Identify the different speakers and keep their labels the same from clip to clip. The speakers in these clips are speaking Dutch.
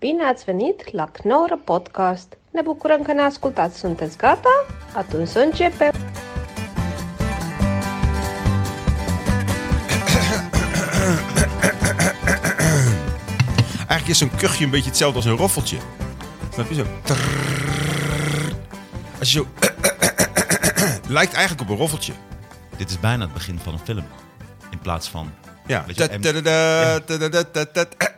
Speaker 1: Bine ați venit la Knorr Podcast! Ne bucurăm că ne ascultați! Sunteți gata? Atunci să începem!
Speaker 2: Eigenlijk is zo'n kuchje een beetje hetzelfde als een roffeltje. Snap je zo? Trrrr. Als je zo... lijkt eigenlijk op een roffeltje.
Speaker 3: Dit is bijna het begin van een film. In plaats van.
Speaker 2: Ja.
Speaker 3: Weet je,
Speaker 2: Ta-
Speaker 3: en-
Speaker 2: tadada, tadada, tadada.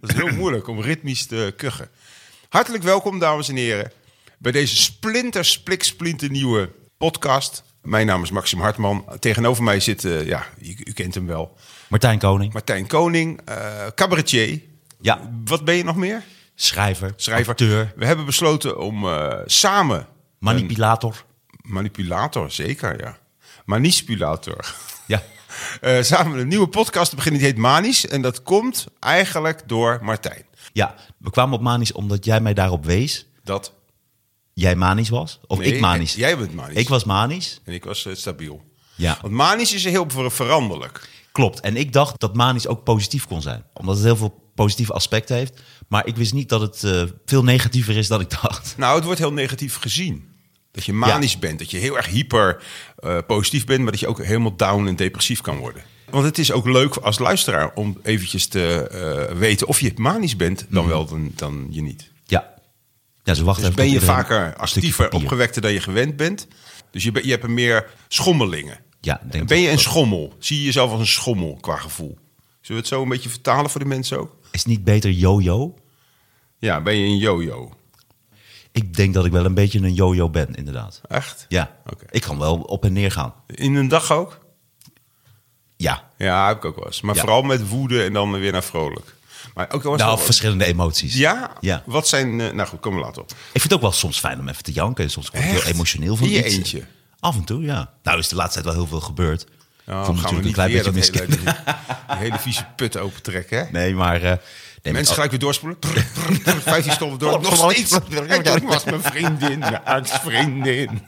Speaker 2: Dat is heel moeilijk om ritmisch te kuchen. Hartelijk welkom, dames en heren, bij deze splinter, splik, splinter nieuwe podcast. Mijn naam is Maxim Hartman. Tegenover mij zit, eh, ja, u, u kent hem wel,
Speaker 3: Martijn Koning,
Speaker 2: Martijn Koning, eh, cabaretier.
Speaker 3: Ja.
Speaker 2: Wat ben je nog meer?
Speaker 3: schrijver,
Speaker 2: Schrijver.
Speaker 3: acteur,
Speaker 2: We hebben besloten om eh, samen... een-
Speaker 3: manipulator.
Speaker 2: Manipulator, zeker, ja. Manipulator.
Speaker 3: Ja.
Speaker 2: Eh, samen een nieuwe podcast te beginnen, die heet Manisch. En dat komt eigenlijk door Martijn.
Speaker 3: ja, we kwamen op manisch omdat jij mij daarop wees.
Speaker 2: Dat.
Speaker 3: Jij manisch was? Of
Speaker 2: Nee,
Speaker 3: ik manisch?
Speaker 2: jij bent manisch.
Speaker 3: Ik was manisch.
Speaker 2: En ik was eh, stabiel.
Speaker 3: Ja.
Speaker 2: Want manisch is heel ver- veranderlijk.
Speaker 3: Klopt. En ik dacht dat manisch ook positief kon zijn. Omdat het heel veel positieve aspecten heeft. Maar ik wist niet dat het eh, veel negatiever is dan ik dacht.
Speaker 2: Nou, het wordt heel negatief gezien. Dat je manisch bent. Dat je heel erg hyper eh, positief bent. Maar dat je ook helemaal down en depressief kan worden. Want het is ook leuk als luisteraar om eventjes te eh, weten of je manisch bent. Dan
Speaker 3: Mhm.
Speaker 2: wel, dan, dan je niet.
Speaker 3: Ja. Ja, ze wachten
Speaker 2: Dus ben
Speaker 3: even tot
Speaker 2: je
Speaker 3: iedereen
Speaker 2: vaker
Speaker 3: een stukje
Speaker 2: actiever,
Speaker 3: papier.
Speaker 2: opgewekter dan je gewend bent. Dus je, be- je hebt er meer schommelingen.
Speaker 3: Ja, ik denk
Speaker 2: ben
Speaker 3: dat-
Speaker 2: je een schommel? Zie je jezelf als een schommel qua gevoel? Zullen we het zo een beetje vertalen voor de mensen ook?
Speaker 3: Is het niet beter yo-yo?
Speaker 2: Ja, ben je een yo-yo?
Speaker 3: Ik denk dat ik wel een beetje een yo-yo ben, inderdaad.
Speaker 2: Echt?
Speaker 3: Ja.
Speaker 2: Oké.
Speaker 3: Ik kan wel op en neer gaan.
Speaker 2: In een dag ook?
Speaker 3: Ja.
Speaker 2: Ja, heb ik ook wel eens. Maar
Speaker 3: Ja.
Speaker 2: vooral met woede en dan weer naar vrolijk. Maar ook wel eens...
Speaker 3: Nou,
Speaker 2: wel-
Speaker 3: verschillende emoties.
Speaker 2: ja?
Speaker 3: Ja.
Speaker 2: Wat zijn... eh, nou goed, kom we later op.
Speaker 3: Ik vind het ook wel soms fijn om even te janken. En Soms word ik
Speaker 2: Echt?
Speaker 3: heel emotioneel van
Speaker 2: In je
Speaker 3: iets.
Speaker 2: eentje?
Speaker 3: Af en toe, ja. Nou, is de laatste tijd wel heel veel gebeurd.
Speaker 2: Nou,
Speaker 3: ik voel me
Speaker 2: gaan we
Speaker 3: natuurlijk een
Speaker 2: niet
Speaker 3: klein
Speaker 2: weer
Speaker 3: beetje
Speaker 2: dat hele,
Speaker 3: miskin.
Speaker 2: die, die hele vieze put opentrekken, hè?
Speaker 3: Nee, maar... eh, nee,
Speaker 2: Mensen
Speaker 3: maar-
Speaker 2: gelijk weer doorspoelen. Prr, prr, prr, 15 seconden
Speaker 3: Oh,
Speaker 2: door. Nog steeds. En toen was mijn vriendin, mijn ex-vriendin.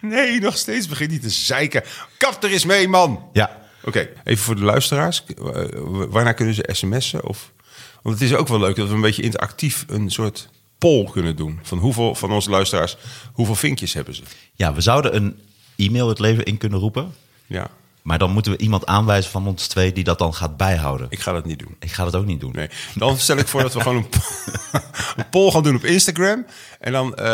Speaker 2: Nee, nog steeds begint hij te zeiken. Kap er eens mee, man.
Speaker 3: Ja.
Speaker 2: Oké, even voor de luisteraars. Eh, Waarna kunnen ze sms'en? Of... Want het is ook wel leuk dat we een beetje interactief een soort poll kunnen doen. Van hoeveel van onze luisteraars, hoeveel vinkjes hebben ze?
Speaker 3: ja, we zouden een e-mail het leven in kunnen roepen.
Speaker 2: Ja,
Speaker 3: Maar dan moeten we iemand aanwijzen van ons twee die dat dan gaat bijhouden. Ik,
Speaker 2: ik ga dat niet doen.
Speaker 3: ga dat ook niet doen.
Speaker 2: Nee. Dan stel ik voor dat we gewoon een, een poll gaan doen op Instagram. En dan eh,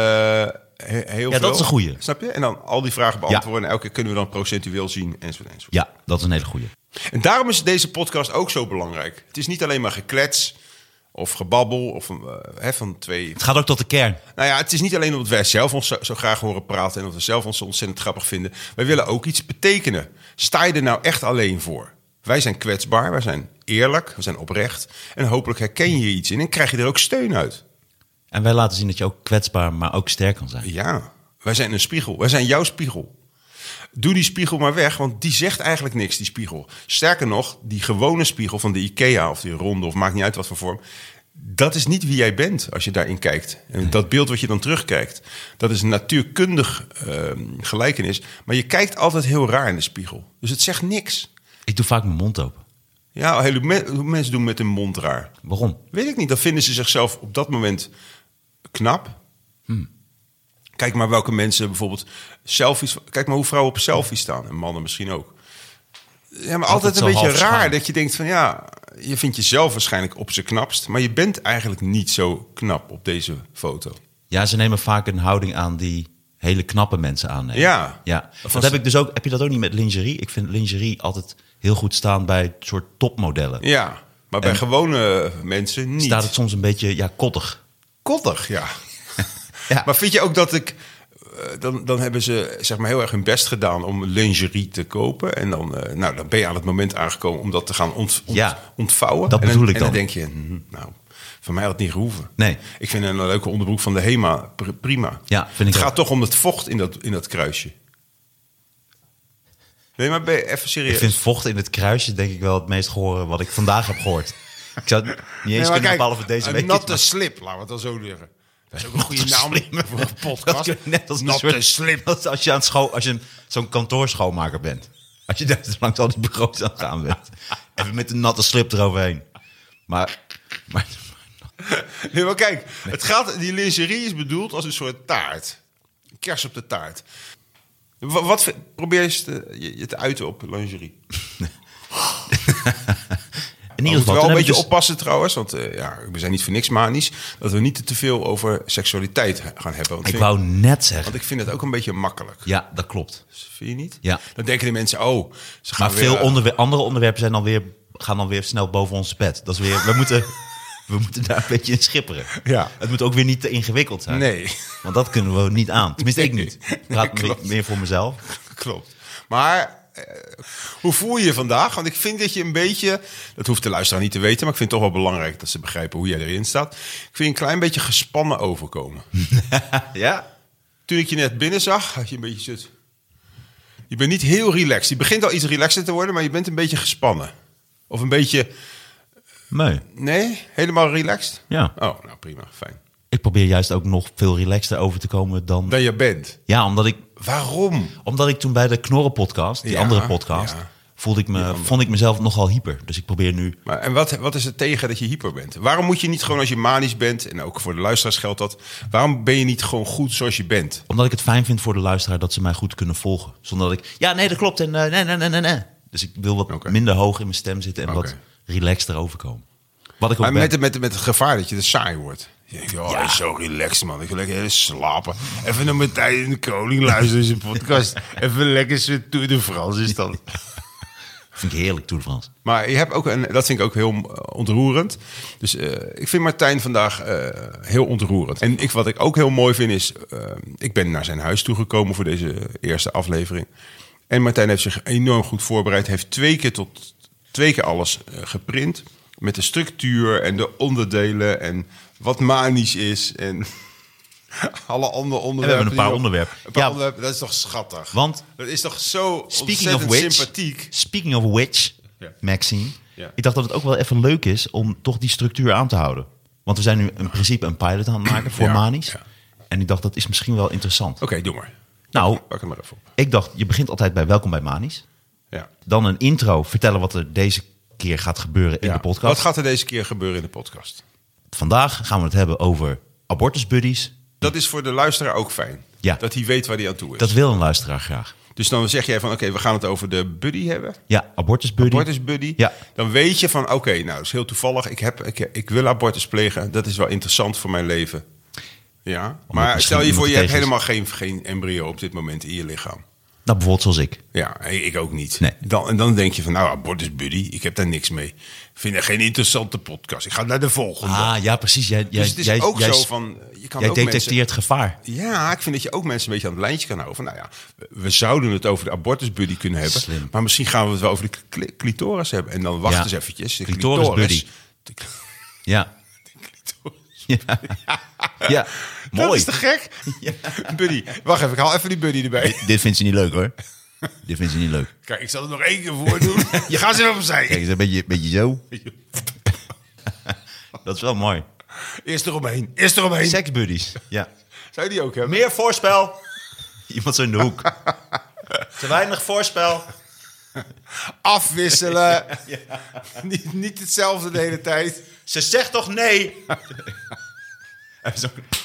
Speaker 2: he- heel
Speaker 3: Ja, dat is een goeie.
Speaker 2: Snap je? En dan al die vragen beantwoorden. En elke keer kunnen we dan procentueel zien, enzovoort, enzovoort.
Speaker 3: Ja, dat is een hele goeie.
Speaker 2: En daarom is deze podcast ook zo belangrijk. Het is niet alleen maar geklets of gebabbel of eh, hè, van twee...
Speaker 3: Het gaat ook tot de kern.
Speaker 2: Nou ja, het is niet alleen omdat wij zelf ons zo, zo graag horen praten... en dat we zelf ons zo ontzettend grappig vinden. Wij willen ook iets betekenen. Sta je er nou echt alleen voor? Wij zijn kwetsbaar, wij zijn eerlijk, we zijn oprecht. En hopelijk herken je hier iets in en krijg je er ook steun uit.
Speaker 3: En wij laten zien dat je ook kwetsbaar, maar ook sterk kan zijn.
Speaker 2: Ja, wij zijn een spiegel. Wij zijn jouw spiegel. Doe die spiegel maar weg, want die zegt eigenlijk niks, die spiegel. Sterker nog, die gewone spiegel van de IKEA of die ronde of maakt niet uit wat voor vorm. Dat is niet wie jij bent als je daarin kijkt. En dat beeld wat je dan terugkijkt, dat is een natuurkundig ehm, gelijkenis. Maar je kijkt altijd heel raar in de spiegel. Dus het zegt niks.
Speaker 3: Ik doe vaak mijn mond open.
Speaker 2: Ja, hele me- hoe mensen doen met hun mond raar.
Speaker 3: Waarom?
Speaker 2: Weet ik niet. Dan vinden ze zichzelf op dat moment knap.
Speaker 3: Hmm.
Speaker 2: Kijk maar welke mensen bijvoorbeeld selfies. Kijk maar hoe vrouwen op selfies staan. En mannen misschien ook. Ja, maar altijd,
Speaker 3: Altijd zo
Speaker 2: een beetje
Speaker 3: half
Speaker 2: raar
Speaker 3: schuin.
Speaker 2: dat je denkt van ja, je vindt jezelf waarschijnlijk op zijn knapst, maar je bent eigenlijk niet zo knap op deze foto.
Speaker 3: Ja, ze nemen vaak een houding aan die hele knappe mensen aannemen.
Speaker 2: Ja.
Speaker 3: ja.
Speaker 2: Of
Speaker 3: Dat
Speaker 2: als-
Speaker 3: heb ik dus ook. Heb je dat ook niet met lingerie? Ik vind lingerie altijd heel goed staan bij soort topmodellen.
Speaker 2: Ja, maar bij
Speaker 3: En-
Speaker 2: gewone mensen niet.
Speaker 3: Staat het soms een beetje ja, kottig.
Speaker 2: koddig, ja.
Speaker 3: Ja.
Speaker 2: Maar vind je ook dat ik... eh, Dan, dan hebben ze zeg maar, heel erg hun best gedaan om lingerie te kopen. En dan, eh, nou, dan ben je aan het moment aangekomen om dat te gaan ont, ont-
Speaker 3: Ja,
Speaker 2: ontvouwen.
Speaker 3: dat
Speaker 2: en dan,
Speaker 3: bedoel ik
Speaker 2: en dan
Speaker 3: dan.
Speaker 2: denk je, hm, nou, van mij had het niet gehoeven.
Speaker 3: Nee.
Speaker 2: Ik vind een leuke onderbroek van de HEMA pr- prima.
Speaker 3: Ja,
Speaker 2: het
Speaker 3: vind ik
Speaker 2: gaat
Speaker 3: ook.
Speaker 2: toch om het vocht in dat, in dat kruisje. Nee, maar ben je even serieus.
Speaker 3: Ik vind vocht in het kruisje denk ik wel het meest gehoor wat ik vandaag heb gehoord. Ik zou het
Speaker 2: Nee,
Speaker 3: niet eens
Speaker 2: maar
Speaker 3: kunnen
Speaker 2: kijk,
Speaker 3: behalve deze
Speaker 2: een
Speaker 3: week.
Speaker 2: Natte slip, laten we het dan zo zeggen. Dat is ook een goede naam voor een podcast.
Speaker 3: Dat kun je net als een
Speaker 2: natte
Speaker 3: soort-
Speaker 2: slip.
Speaker 3: dat is Als je, aan het scho- als je een- zo'n kantoorschoonmaker bent. Als je daar langs al die bureaus aan gaan bent. Even met een natte slip eroverheen. Maar, maar
Speaker 2: Nee, maar kijk, het gaat, die lingerie is bedoeld als een soort taart. Een kers op de taart. Wa- Wat, vind- probeer je eens te- je je te uiten op lingerie?
Speaker 3: in
Speaker 2: We moeten
Speaker 3: ieder
Speaker 2: wel
Speaker 3: geval...
Speaker 2: een
Speaker 3: toen heb ik
Speaker 2: beetje
Speaker 3: dus-
Speaker 2: oppassen trouwens, want eh, ja, we zijn niet voor niks manisch... dat we niet te veel over seksualiteit he- gaan hebben. Want,
Speaker 3: Ik
Speaker 2: vind-
Speaker 3: wou net zeggen.
Speaker 2: want ik vind het ook een beetje makkelijk.
Speaker 3: Ja, dat klopt.
Speaker 2: Vind je niet?
Speaker 3: Ja.
Speaker 2: Dan denken de mensen, oh, ze gaan
Speaker 3: Maar veel
Speaker 2: weer, eh,
Speaker 3: onderwe- andere onderwerpen zijn dan weer, gaan dan weer snel boven ons bed. Dat is weer, we, moeten, we moeten daar een beetje in schipperen.
Speaker 2: Ja.
Speaker 3: Het moet ook weer niet te ingewikkeld zijn.
Speaker 2: Nee.
Speaker 3: Want dat kunnen we niet aan. Tenminste, ik niet.
Speaker 2: Nee,
Speaker 3: Ik praat me-
Speaker 2: klopt.
Speaker 3: meer voor mezelf.
Speaker 2: Klopt. Maar eh, hoe voel je je vandaag? Want ik vind dat je een beetje, dat hoeft de luisteraar niet te weten, maar ik vind het toch wel belangrijk dat ze begrijpen hoe jij erin staat. Ik vind je een klein beetje gespannen overkomen.
Speaker 3: Ja?
Speaker 2: Toen ik je net binnen zag, had je een beetje zit. Je bent niet heel relaxed. Je begint al iets relaxer te worden, maar je bent een beetje gespannen. Of een beetje,
Speaker 3: Nee.
Speaker 2: nee, helemaal relaxed?
Speaker 3: Ja.
Speaker 2: Oh, nou prima, fijn.
Speaker 3: Ik probeer juist ook nog veel relaxter over te komen dan...
Speaker 2: Dan je bent.
Speaker 3: Ja, omdat ik,
Speaker 2: Waarom?
Speaker 3: omdat ik toen bij de Knorren podcast, die
Speaker 2: Ja,
Speaker 3: andere podcast...
Speaker 2: ja.
Speaker 3: Voelde ik me, vond ik mezelf nogal hyper. Dus ik probeer nu...
Speaker 2: Maar, en wat, wat is het tegen dat je hyper bent? Waarom moet je niet gewoon als je manisch bent, en ook voor de luisteraars geldt dat, waarom ben je niet gewoon goed zoals je bent?
Speaker 3: Omdat ik het fijn vind voor de luisteraar dat ze mij goed kunnen volgen. Zonder dat ik, ja, nee, dat klopt. En eh, nee, nee, nee, nee, nee. Dus ik wil wat
Speaker 2: Oké.
Speaker 3: minder hoog in mijn stem zitten en wat
Speaker 2: Oké.
Speaker 3: relaxter overkomen. Wat ik ook
Speaker 2: Maar
Speaker 3: ben.
Speaker 2: met, het- met, met het gevaar dat je er saai wordt. Je denkt, oh, hij is zo relaxed, man. Ik wil lekker even slapen. Even naar Martijn de Koning luisteren in zijn podcast. Even lekker zijn Tour de France is dat.
Speaker 3: Vind ik heerlijk, Tour de France.
Speaker 2: Maar je hebt ook, en dat vind ik ook heel eh, ontroerend. Dus eh, ik vind Martijn vandaag eh, heel ontroerend. En ik, wat ik ook heel mooi vind is, eh, ik ben naar zijn huis toegekomen voor deze eerste aflevering. En Martijn heeft zich enorm goed voorbereid. Heeft twee keer tot twee keer alles eh, geprint. Met de structuur en de onderdelen en wat manisch is. En alle andere onderwerpen.
Speaker 3: een paar
Speaker 2: die we-
Speaker 3: onderwerpen.
Speaker 2: Een paar
Speaker 3: Ja.
Speaker 2: onderwerpen, dat is toch schattig?
Speaker 3: Want-
Speaker 2: dat is toch zo
Speaker 3: Speaking of
Speaker 2: ontzettend
Speaker 3: which,
Speaker 2: sympathiek.
Speaker 3: Speaking of which,
Speaker 2: Ja.
Speaker 3: Maxine.
Speaker 2: Ja.
Speaker 3: Ik dacht dat het ook wel even leuk is om toch die structuur aan te houden. Want we zijn nu in principe een pilot aan het maken voor
Speaker 2: Ja,
Speaker 3: Manis.
Speaker 2: ja.
Speaker 3: En ik dacht, dat is misschien wel interessant.
Speaker 2: Oké, doe maar.
Speaker 3: Nou,
Speaker 2: Pak hem maar even op.
Speaker 3: ik dacht, je begint altijd bij welkom bij Manis.
Speaker 2: Ja.
Speaker 3: Dan een intro, vertellen wat er deze keer gaat gebeuren in
Speaker 2: Ja.
Speaker 3: de podcast.
Speaker 2: Wat gaat er deze keer gebeuren in de podcast?
Speaker 3: Vandaag gaan we het hebben over abortusbuddies.
Speaker 2: Dat is voor de luisteraar ook fijn.
Speaker 3: Ja.
Speaker 2: Dat hij weet waar hij aan toe is.
Speaker 3: Dat wil een luisteraar graag.
Speaker 2: Dus dan zeg jij van, oké, we gaan het over de buddy hebben.
Speaker 3: Ja, abortusbuddy.
Speaker 2: Abortus buddy.
Speaker 3: Ja.
Speaker 2: Dan weet je van, oké, nou, dat is heel toevallig. Ik, heb, ik, ik wil abortus plegen. Dat is wel interessant voor mijn leven. Ja. Maar
Speaker 3: misschien
Speaker 2: stel je voor,
Speaker 3: iemand
Speaker 2: je hebt
Speaker 3: tegen
Speaker 2: helemaal geen, geen embryo op dit moment in je lichaam.
Speaker 3: Nou, bijvoorbeeld zoals ik.
Speaker 2: Ja, ik ook niet.
Speaker 3: Nee.
Speaker 2: Dan, en dan denk je van, nou, abortus buddy, ik heb daar niks mee. Vind er geen interessante podcast. Ik ga naar de volgende.
Speaker 3: Ah, ja, precies. Jij, jij,
Speaker 2: dus het is
Speaker 3: jij,
Speaker 2: ook
Speaker 3: jij,
Speaker 2: zo van, je kan
Speaker 3: jij
Speaker 2: ook
Speaker 3: detecteert
Speaker 2: mensen...
Speaker 3: gevaar.
Speaker 2: Ja, ik vind dat je ook mensen een beetje aan het lijntje kan houden. Van, nou ja, we- we zouden het over de abortusbuddy kunnen hebben.
Speaker 3: Slim.
Speaker 2: Maar misschien gaan we het wel over de cli- clitoris hebben. En dan wacht
Speaker 3: Ja.
Speaker 2: eens eventjes. De
Speaker 3: Clitoris buddy.
Speaker 2: De cli-
Speaker 3: Ja. Ja. ja.
Speaker 2: Dat
Speaker 3: Mooi.
Speaker 2: is te gek? Buddy. Wacht even, ik haal even die buddy erbij.
Speaker 3: Dit vindt ze niet leuk hoor. Dit vindt ze niet leuk.
Speaker 2: Kijk, ik zal het nog één keer voordoen. Je gaat ze even
Speaker 3: Kijk
Speaker 2: opzij.
Speaker 3: eens, een beetje, beetje zo. Dat is wel mooi.
Speaker 2: Eerst eromheen. Eerst eromheen.
Speaker 3: Seksbuddies. Ja.
Speaker 2: Zou je die ook hebben?
Speaker 3: Meer voorspel. Iemand zo in de hoek. Te weinig voorspel.
Speaker 2: Afwisselen. niet, niet hetzelfde de hele tijd.
Speaker 3: Ze zegt toch nee?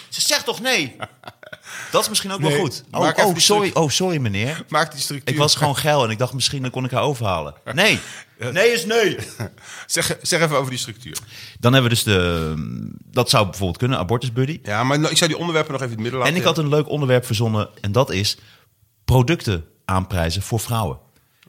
Speaker 3: Ze zegt toch nee? Dat is misschien ook
Speaker 2: Nee,
Speaker 3: wel goed.
Speaker 2: maak
Speaker 3: Oh,
Speaker 2: even
Speaker 3: oh,
Speaker 2: die
Speaker 3: sorry, oh, sorry meneer.
Speaker 2: Maak die structuur.
Speaker 3: Ik was gewoon geil en ik dacht misschien dan kon ik haar overhalen. Nee, nee is nee.
Speaker 2: Zeg, zeg even over die structuur.
Speaker 3: Dan hebben we dus de... Dat zou bijvoorbeeld kunnen, abortusbuddy.
Speaker 2: Ja, maar nou, ik zou die onderwerpen nog even in het midden laten.
Speaker 3: En ik had een leuk onderwerp verzonnen en dat is producten aanprijzen voor vrouwen.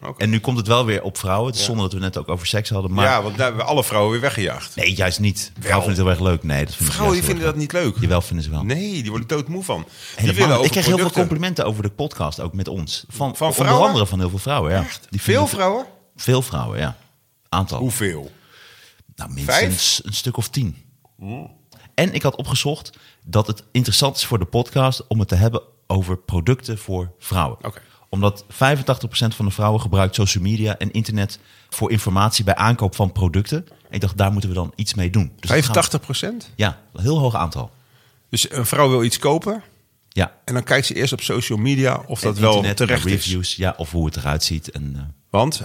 Speaker 2: Oké.
Speaker 3: En nu komt het wel weer op vrouwen, het is zonder dat we het net ook over seks hadden. Maar
Speaker 2: Ja, want daar hebben we alle vrouwen weer weggejaagd.
Speaker 3: nee, juist niet. Vrouwen vinden het heel erg leuk. Nee, dat vinden
Speaker 2: Vrouwen
Speaker 3: ze
Speaker 2: die
Speaker 3: juist
Speaker 2: vinden dat
Speaker 3: heel erg
Speaker 2: niet leuk.
Speaker 3: leuk. Jawel, vinden ze wel.
Speaker 2: Nee, die worden doodmoe van. Die
Speaker 3: Helemaal.
Speaker 2: willen over
Speaker 3: ik kreeg heel veel
Speaker 2: producten.
Speaker 3: complimenten over de podcast, ook met ons. Van,
Speaker 2: Van
Speaker 3: onder
Speaker 2: vrouwen?
Speaker 3: andere van heel veel vrouwen, ja.
Speaker 2: Veel
Speaker 3: Die vinden-
Speaker 2: vrouwen?
Speaker 3: Veel vrouwen, ja. Aantal.
Speaker 2: Hoeveel?
Speaker 3: nou, minstens een stuk of tien.
Speaker 2: Hmm.
Speaker 3: En ik had opgezocht dat het interessant is voor de podcast om het te hebben over producten voor vrouwen.
Speaker 2: Oké.
Speaker 3: Omdat 85% van de vrouwen gebruikt social media en internet voor informatie bij aankoop van producten. En ik dacht, daar moeten we dan iets mee doen. Dus dat gaan we-
Speaker 2: 85 procent?
Speaker 3: Ja, een heel hoog aantal.
Speaker 2: Dus een vrouw wil iets kopen
Speaker 3: Ja.
Speaker 2: en dan kijkt ze eerst op social media of dat
Speaker 3: En
Speaker 2: wel
Speaker 3: internet,
Speaker 2: terecht
Speaker 3: en
Speaker 2: is.
Speaker 3: reviews, ja, of hoe het eruit ziet. En, eh,
Speaker 2: Want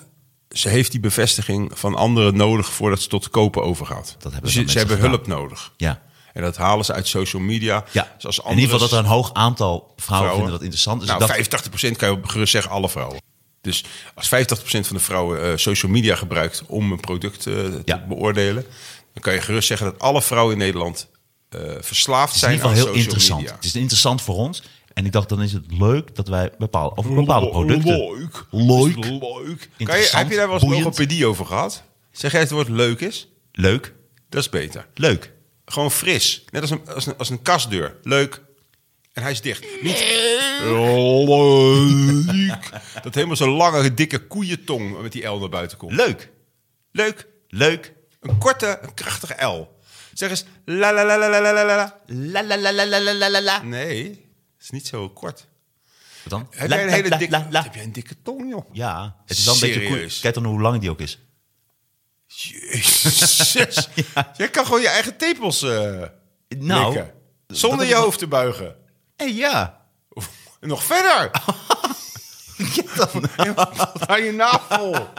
Speaker 2: ze heeft die bevestiging van anderen nodig voordat ze tot kopen overgaat.
Speaker 3: Dat
Speaker 2: Dus
Speaker 3: hebben wel
Speaker 2: ze, ze
Speaker 3: mensen
Speaker 2: hebben
Speaker 3: gedaan.
Speaker 2: hulp nodig.
Speaker 3: Ja.
Speaker 2: En dat halen ze uit social media.
Speaker 3: Ja,
Speaker 2: Dus als
Speaker 3: in ieder geval dat er
Speaker 2: andere
Speaker 3: een hoog aantal vrouwen,
Speaker 2: vrouwen-
Speaker 3: vinden dat interessant. Dus
Speaker 2: nou,
Speaker 3: dat,
Speaker 2: 85% kan je gerust zeggen alle vrouwen. Dus als 50% van de vrouwen eh, social media gebruikt om een product eh, te
Speaker 3: Ja.
Speaker 2: beoordelen, dan kan je gerust zeggen dat alle vrouwen in Nederland eh, verslaafd
Speaker 3: Het is
Speaker 2: zijn
Speaker 3: in ieder
Speaker 2: aan
Speaker 3: geval heel
Speaker 2: social
Speaker 3: interessant.
Speaker 2: media.
Speaker 3: Het is interessant voor ons. En ik dacht, dan is het leuk dat wij bepaalde, over bepaalde producten...
Speaker 2: Leuk.
Speaker 3: Leuk.
Speaker 2: Leuk. Kan je,
Speaker 3: Interessant,
Speaker 2: heb je daar wel eens een
Speaker 3: boeiend.
Speaker 2: logopedie over gehad? Zeg jij het woord leuk is?
Speaker 3: Leuk,
Speaker 2: Dat is beter.
Speaker 3: leuk.
Speaker 2: Gewoon fris. Net als een, als een, als een kastdeur. Leuk. En hij is dicht. Niet leuk. Dat helemaal zo'n lange, dikke koeientong met die L naar buiten komt.
Speaker 3: Leuk,
Speaker 2: Leuk.
Speaker 3: leuk.
Speaker 2: Een korte, een krachtige L. Zeg eens la la la la la la la la.
Speaker 3: La la la la la la la la la.
Speaker 2: Nee, het is niet zo kort.
Speaker 3: Wat dan?
Speaker 2: Heb
Speaker 3: La,
Speaker 2: jij een
Speaker 3: la, la,
Speaker 2: hele dikke,
Speaker 3: la, la.
Speaker 2: Heb jij een dikke tong, joh?
Speaker 3: Ja, het is wel een beetje
Speaker 2: Serieus?
Speaker 3: koe- Kijk dan hoe lang die ook is.
Speaker 2: Jezus. Jij kan gewoon je eigen tepels eh
Speaker 3: Nou,
Speaker 2: likken.
Speaker 3: dat
Speaker 2: Zonder
Speaker 3: is
Speaker 2: je
Speaker 3: wel-
Speaker 2: hoofd te buigen.
Speaker 3: Hey, ja.
Speaker 2: En nog verder. Tot aan je nou navel.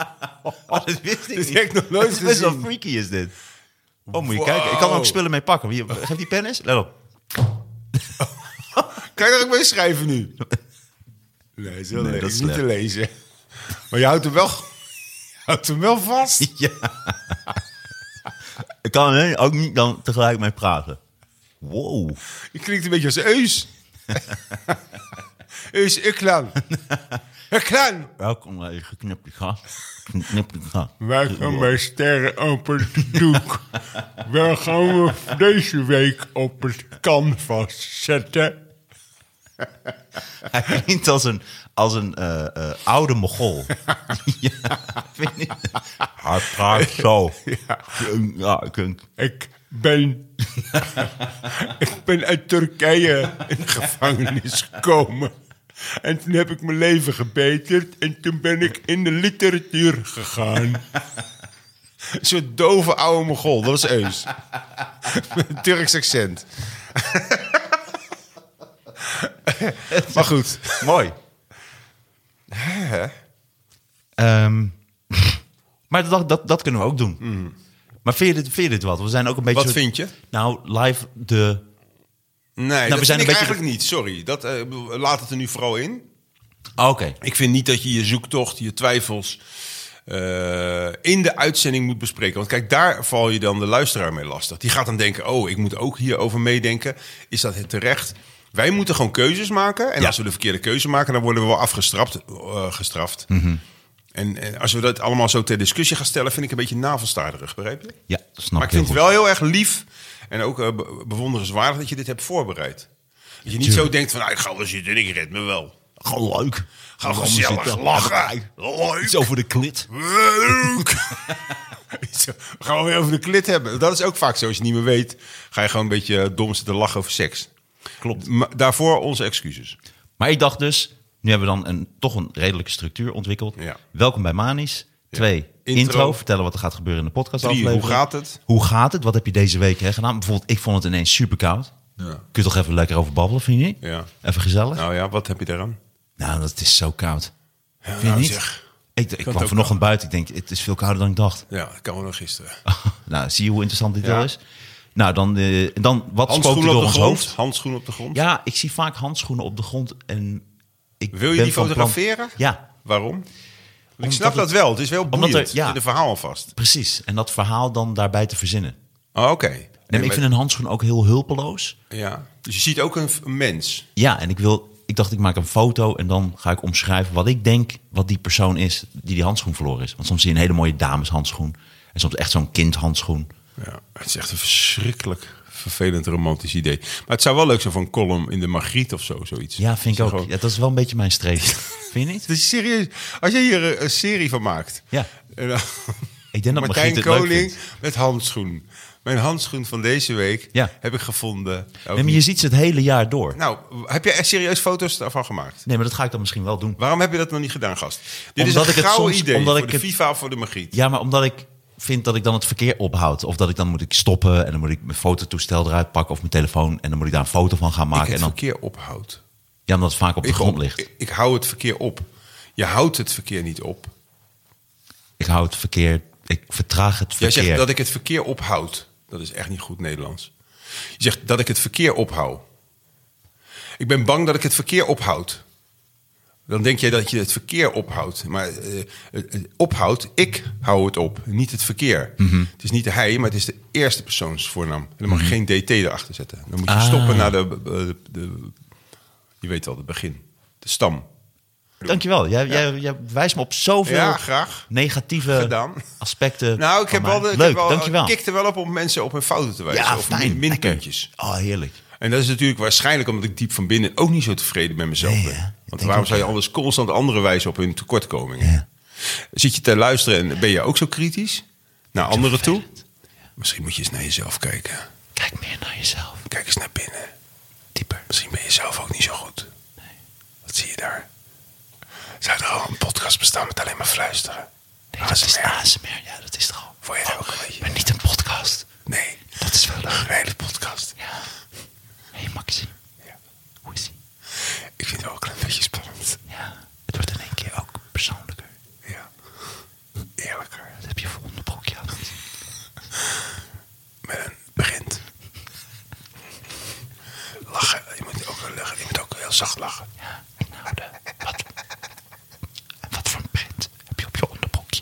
Speaker 3: Oh, dat wist ik
Speaker 2: Dit
Speaker 3: niet.
Speaker 2: heb ik nog nooit
Speaker 3: Het is best wel
Speaker 2: gezien.
Speaker 3: freaky is dit. Oh, moet je
Speaker 2: Wow.
Speaker 3: kijken. Ik kan er ook spullen mee pakken. Hier, Geef die pen eens. Let op.
Speaker 2: Kan je er ook mee schrijven nu? Nee, dat is, heel
Speaker 3: Nee,
Speaker 2: leuk.
Speaker 3: dat is
Speaker 2: niet te
Speaker 3: slecht.
Speaker 2: lezen. Maar je houdt hem wel, je houdt hem wel vast.
Speaker 3: Ja. Ik kan er ook niet dan tegelijk mee praten. Wow.
Speaker 2: Je klinkt een beetje als Eus. Eus Uklan. Uklan.
Speaker 3: Welkom bij Geknipte Gast. Geknipte Gast.
Speaker 2: Wij gaan bij Sterren op het doek. Waar gaan we deze week op het canvas zetten?
Speaker 3: Hij klinkt als een, als een eh, eh, oude mogol. ja, vind je niet? Hij praat zo. Ja, ik vind-
Speaker 2: Ik ben. ik ben uit Turkije in de gevangenis gekomen. En toen heb ik mijn leven gebeterd en toen ben ik in de literatuur gegaan. Een soort dove oude mogol, dat was Eus. Met een Turks accent. maar goed.
Speaker 3: Mooi. Ehm, maar dat, dat, dat kunnen we ook doen. Maar vind je, dit, vind je dit wat? We zijn ook een beetje...
Speaker 2: Mm. Wat vind je?
Speaker 3: Nou, live de...
Speaker 2: Nee,
Speaker 3: Nou, we
Speaker 2: dat
Speaker 3: zijn
Speaker 2: vind
Speaker 3: een
Speaker 2: ik
Speaker 3: beetje-
Speaker 2: eigenlijk niet. Sorry, dat, eh, ik bedoel, laat het er nu vooral in.
Speaker 3: Ah, Oké.
Speaker 2: Ik vind niet dat je je zoektocht, je twijfels eh, in de uitzending moet bespreken. Want kijk, daar val je dan de luisteraar mee lastig. Die gaat dan denken, oh, ik moet ook hierover meedenken. Is dat het terecht? Wij moeten gewoon keuzes maken. En
Speaker 3: Ja.
Speaker 2: als we de verkeerde keuze maken, dan worden we wel afgestraft. eh, gestraft.
Speaker 3: Mhm.
Speaker 2: En, en als we dat allemaal zo ter discussie gaan stellen, vind ik een beetje navelstaarderig, begrijp je?
Speaker 3: Ja, dat snap
Speaker 2: Maar ik
Speaker 3: heel
Speaker 2: vind het
Speaker 3: goed.
Speaker 2: wel heel erg lief en ook eh, be- bewonderenswaardig dat je dit hebt voorbereid. Dat je niet zo denkt van, nou, ik ga wel zitten en ik red me wel.
Speaker 3: Gewoon leuk.
Speaker 2: Ga
Speaker 3: Gewoon
Speaker 2: gezellig
Speaker 3: zitten.
Speaker 2: lachen.
Speaker 3: Iets
Speaker 2: Leuk.
Speaker 3: over de klit.
Speaker 2: Leuk. Zo, we gaan weer over de klit hebben. Dat is ook vaak zo. Als je niet meer weet, ga je gewoon een beetje eh, dom zitten lachen over seks.
Speaker 3: Klopt.
Speaker 2: Maar daarvoor onze excuses.
Speaker 3: Maar ik dacht dus, nu hebben we dan een, toch een redelijke structuur ontwikkeld.
Speaker 2: Ja.
Speaker 3: Welkom bij Manis. Twee, intro.
Speaker 2: Intro.
Speaker 3: Vertellen wat er gaat gebeuren in de podcast
Speaker 2: Drie, hoe gaat het?
Speaker 3: Hoe gaat het? Wat heb je deze week hè, gedaan? Bijvoorbeeld, ik vond het ineens super koud.
Speaker 2: Ja.
Speaker 3: Kun je toch even lekker over babbelen, vind je niet?
Speaker 2: Ja.
Speaker 3: Even gezellig. Nou,
Speaker 2: Nou ja, wat heb je daaraan?
Speaker 3: dat is zo koud. vind je
Speaker 2: nou
Speaker 3: niet?
Speaker 2: zeg.
Speaker 3: Ik, ik kwam
Speaker 2: ook
Speaker 3: vanochtend buiten. Ik denk, het is veel kouder dan ik dacht.
Speaker 2: Ja, dat kan wel nog gisteren.
Speaker 3: nou, zie je hoe interessant dit
Speaker 2: Ja.
Speaker 3: wel is? Nou, dan, eh, dan wat spookt er
Speaker 2: Handschoenen
Speaker 3: door
Speaker 2: op de
Speaker 3: ons
Speaker 2: grond.
Speaker 3: hoofd?
Speaker 2: Handschoenen op de grond.
Speaker 3: Ja, ik zie vaak handschoenen op de grond. En ik
Speaker 2: Wil je
Speaker 3: ben
Speaker 2: die
Speaker 3: van plan-
Speaker 2: fotograferen?
Speaker 3: Ja,
Speaker 2: Waarom? Ik
Speaker 3: Omdat
Speaker 2: snap dat
Speaker 3: het-
Speaker 2: wel. Het is wel
Speaker 3: Omdat er-
Speaker 2: boeiend.
Speaker 3: ja.
Speaker 2: In de verhaal vast.
Speaker 3: precies. En dat verhaal dan daarbij te verzinnen. Nee,
Speaker 2: Oh, Oké.
Speaker 3: maar ik vind een handschoen ook heel hulpeloos.
Speaker 2: ja. Dus je ziet ook een, f- een mens.
Speaker 3: Ja, en ik, wil, ik dacht, ik maak een foto en dan ga ik omschrijven wat ik denk wat die persoon is die die handschoen verloren is. Want soms zie je een hele mooie dameshandschoen. En soms echt zo'n kindhandschoen.
Speaker 2: Ja, het is echt een verschrikkelijk vervelend romantisch idee. Maar het zou wel leuk zijn voor een column in de Margriet of zo, zoiets.
Speaker 3: Ja, vind ik
Speaker 2: Zo
Speaker 3: ook.
Speaker 2: gewoon-
Speaker 3: Ja, dat is wel een beetje mijn streef. vind je niet?
Speaker 2: Het is serieus. Als jij hier eh, een serie van maakt.
Speaker 3: Ja.
Speaker 2: En dan-
Speaker 3: Ik denk dat Margriet
Speaker 2: Martijn
Speaker 3: het leuk
Speaker 2: Koning
Speaker 3: vindt.
Speaker 2: met handschoen. Mijn handschoen van deze week
Speaker 3: Ja.
Speaker 2: heb ik gevonden. Ook
Speaker 3: Nee, maar je
Speaker 2: niet.
Speaker 3: ziet ze het hele jaar door.
Speaker 2: Nou, heb jij echt serieus foto's daarvan gemaakt?
Speaker 3: Nee, maar dat ga ik dan misschien wel doen.
Speaker 2: Waarom heb je dat nog niet gedaan, gast? Dit
Speaker 3: Omdat ik
Speaker 2: is een
Speaker 3: het
Speaker 2: gouden
Speaker 3: soms-
Speaker 2: idee
Speaker 3: omdat
Speaker 2: voor
Speaker 3: ik
Speaker 2: de
Speaker 3: het-
Speaker 2: FIFA of voor de Margriet.
Speaker 3: Ja, maar omdat ik vind dat ik dan het verkeer ophoud. Of dat ik dan moet ik stoppen en dan moet ik mijn fototoestel eruit pakken of mijn telefoon. En dan moet ik daar een foto van gaan
Speaker 2: Ik
Speaker 3: maken.
Speaker 2: het
Speaker 3: En dan,
Speaker 2: verkeer ophoudt.
Speaker 3: ja, omdat het vaak op de grond ligt.
Speaker 2: Ik, ik hou het verkeer op. Je houdt het verkeer niet op.
Speaker 3: Ik hou het verkeer, ik vertraag het
Speaker 2: Jij
Speaker 3: verkeer.
Speaker 2: zegt dat ik het verkeer ophoud. Dat is echt niet goed Nederlands. Je zegt dat ik het verkeer ophoud. Ik ben bang dat ik het verkeer ophoud. Dan denk jij dat je het verkeer ophoudt. Maar eh, het- het ophoudt, ik hou het op, niet het verkeer.
Speaker 3: Mhm.
Speaker 2: Het is niet de hij, maar het is de eerste persoonsvoornaam. En dan mag je geen DT erachter zetten. Dan moet je
Speaker 3: Ah.
Speaker 2: stoppen naar de, eh, de, de- Je weet al, het begin. De stam.
Speaker 3: Dankjewel. Jij, jij, jij wijst me op zoveel
Speaker 2: Ja, graag.
Speaker 3: negatieve
Speaker 2: Gedaan.
Speaker 3: aspecten.
Speaker 2: Nou, ik
Speaker 3: van
Speaker 2: heb wel, de-
Speaker 3: mij.
Speaker 2: ik
Speaker 3: Leuk,
Speaker 2: heb wel,
Speaker 3: dankjewel.
Speaker 2: ik kikte wel op om mensen op hun fouten te wijzen.
Speaker 3: ja,
Speaker 2: of
Speaker 3: fijn.
Speaker 2: min-
Speaker 3: lekker.
Speaker 2: minpuntjes.
Speaker 3: Oh, heerlijk.
Speaker 2: En dat is natuurlijk waarschijnlijk omdat ik diep van binnen ook niet zo tevreden met mezelf
Speaker 3: Nee,
Speaker 2: ben.
Speaker 3: hè? Ik
Speaker 2: Want
Speaker 3: denk
Speaker 2: waarom
Speaker 3: ook,
Speaker 2: zou je
Speaker 3: ja.
Speaker 2: anders constant andere wijzen op hun tekortkomingen?
Speaker 3: Ja.
Speaker 2: Zit je te luisteren en ben je ook zo kritisch naar anderen toe?
Speaker 3: vervelend.
Speaker 2: Misschien moet je eens naar jezelf kijken.
Speaker 3: Kijk meer naar jezelf.
Speaker 2: Kijk eens naar binnen.
Speaker 3: Dieper.
Speaker 2: Misschien ben je zelf ook niet zo goed. Wat zie je daar? Zou er al een podcast bestaan met alleen maar fluisteren?
Speaker 3: Nee, dat is ASMR. Ja, dat is toch al.
Speaker 2: Vond je dat ook een beetje?
Speaker 3: Maar niet een podcast.
Speaker 2: Nee,
Speaker 3: Dat is wel leuk.
Speaker 2: een hele podcast.
Speaker 3: Ja. Hé, hey, Maxi.
Speaker 2: Ja.
Speaker 3: Hoe is ie?
Speaker 2: Ik vind het ook een klein beetje spannend.
Speaker 3: Ja. Het wordt in één keer ook persoonlijker.
Speaker 2: Ja. Eerlijker.
Speaker 3: Wat heb je voor onderbroekje aan?
Speaker 2: met een begint. Lachen. Je moet ook, wel lachen. Je moet ook heel zacht lachen.
Speaker 3: Ja. Nou, de, wat, en wat voor een print heb je op je onderbroekje?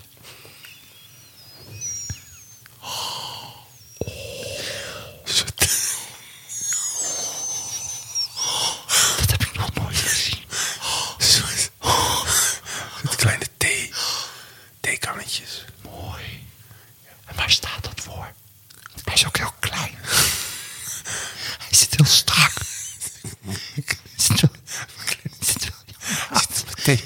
Speaker 3: Dat heb ik nog nooit gezien.
Speaker 2: Een soort- soort kleine thee. Theekannetjes.
Speaker 3: Mooi. En waar staat dat voor? Hij is ook heel klein. Hij zit heel strak. Hij zit wel- hij zit wel-
Speaker 2: Thee.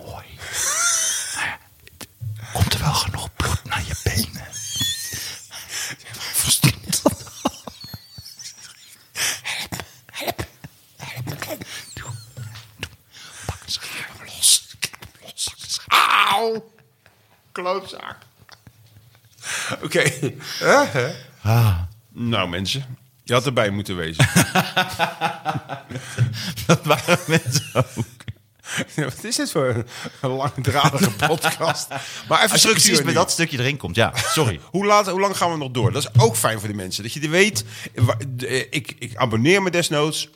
Speaker 3: Mooi. Maar het Nou komt er wel genoeg bloed naar je benen? Doe, doe. Pak een schaar los. Pak een schaar.
Speaker 2: Auw. Klootzaak. Oké. Eh, hè?
Speaker 3: Ah.
Speaker 2: Nou mensen. Je had erbij moeten wezen.
Speaker 3: Dat waren mensen ook.
Speaker 2: Ja, Wat is dit voor een langdradige podcast? Maar even
Speaker 3: Als je precies
Speaker 2: structuur
Speaker 3: met
Speaker 2: nu.
Speaker 3: dat stukje erin komt, ja. Sorry.
Speaker 2: Hoe, laat, hoe lang gaan we nog door? Dat is ook fijn voor de mensen. Dat je er weet. Wa- eh, Ik, ik abonneer me desnoods.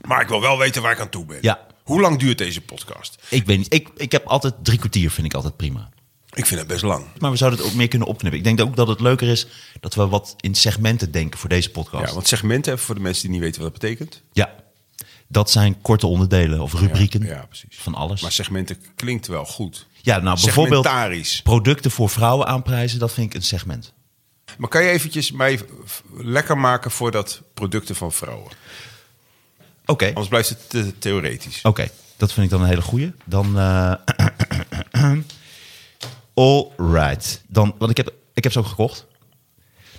Speaker 2: Maar ik wil wel weten waar ik aan toe ben.
Speaker 3: Ja.
Speaker 2: Hoe lang duurt deze podcast?
Speaker 3: Ik weet niet. Ik, ik heb altijd drie kwartier, vind ik altijd prima.
Speaker 2: Ik vind het best lang.
Speaker 3: Maar we zouden het ook meer kunnen opknippen. Ik denk ook dat het leuker is dat we wat in segmenten denken voor deze podcast.
Speaker 2: Ja, want segmenten, even voor de mensen die niet weten wat dat betekent.
Speaker 3: Ja, dat zijn korte onderdelen of rubrieken
Speaker 2: Ja, precies.
Speaker 3: van alles.
Speaker 2: Maar segmenten klinkt wel goed.
Speaker 3: ja, nou bijvoorbeeld
Speaker 2: Segmentarisch.
Speaker 3: producten voor vrouwen aanprijzen, dat vind ik een segment.
Speaker 2: Maar kan je eventjes mij f- lekker maken voor dat producten van vrouwen?
Speaker 3: Oké, oké,
Speaker 2: Anders blijft het te theoretisch. Oh
Speaker 3: dat vind ik dan een hele goeie. Dan, eh all right. Dan, want ik heb, ik heb ze ook gekocht.